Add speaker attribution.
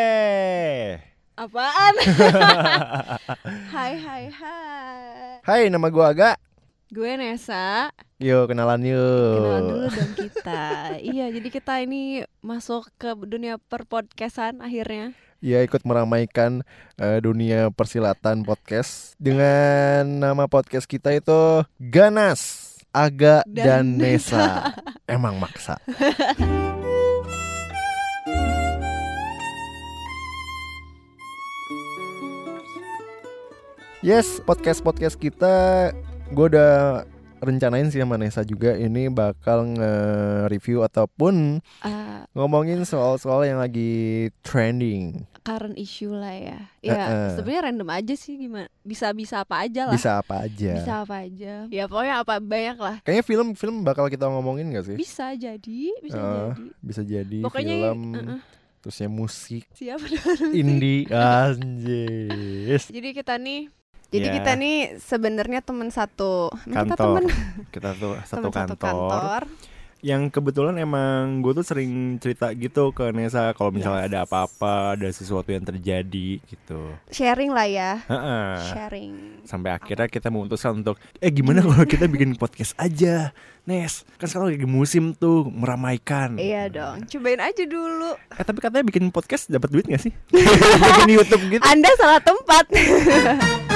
Speaker 1: Yeay.
Speaker 2: Apaan? hai hai hai.
Speaker 1: Hai, nama gua Aga.
Speaker 2: Gue Nesa.
Speaker 1: Yuk kenalan yuk.
Speaker 2: Kenalan dulu dong kita. iya, jadi kita ini masuk ke dunia perpodcastan akhirnya.
Speaker 1: Ya ikut meramaikan eh, dunia persilatan podcast dengan nama podcast kita itu Ganas, Aga dan,
Speaker 2: Dan
Speaker 1: Nesa. Emang maksa. Yes, podcast-podcast kita gue udah rencanain sih sama Nesa juga ini bakal nge-review ataupun
Speaker 2: Eh,
Speaker 1: ngomongin soal-soal yang lagi trending.
Speaker 2: current issue lah ya. Ya,
Speaker 1: Eh, eh.
Speaker 2: sebenarnya random aja sih gimana. Bisa-bisa apa aja lah.
Speaker 1: bisa apa aja.
Speaker 2: Bisa apa aja. Ya pokoknya apa banyak lah.
Speaker 1: Kayaknya film-film bakal kita ngomongin gak sih?
Speaker 2: Bisa jadi, bisa
Speaker 1: Eh,
Speaker 2: jadi.
Speaker 1: Bisa jadi
Speaker 2: Pokoknya
Speaker 1: film,
Speaker 2: eh, eh,
Speaker 1: terusnya musik,
Speaker 2: siapa
Speaker 1: indie, anjis.
Speaker 2: Jadi kita nih
Speaker 3: Jadi
Speaker 1: Ya.
Speaker 3: kita nih sebenarnya teman satu emang
Speaker 2: Nah,
Speaker 3: kita
Speaker 4: Kantor.
Speaker 3: teman
Speaker 4: kita tuh satu
Speaker 3: teman
Speaker 4: kantor, yang kebetulan emang gue tuh sering cerita gitu ke Nesa kalau misalnya
Speaker 3: Yes.
Speaker 4: ada apa-apa ada sesuatu yang terjadi gitu
Speaker 3: sharing lah ya
Speaker 4: Heeh.
Speaker 3: sharing
Speaker 4: sampai akhirnya kita memutuskan untuk eh gimana kalau kita bikin podcast aja Nes kan sekarang lagi musim tuh meramaikan
Speaker 3: iya dong cobain aja dulu
Speaker 4: eh tapi katanya bikin podcast dapat duit gak sih bikin YouTube gitu
Speaker 3: anda salah tempat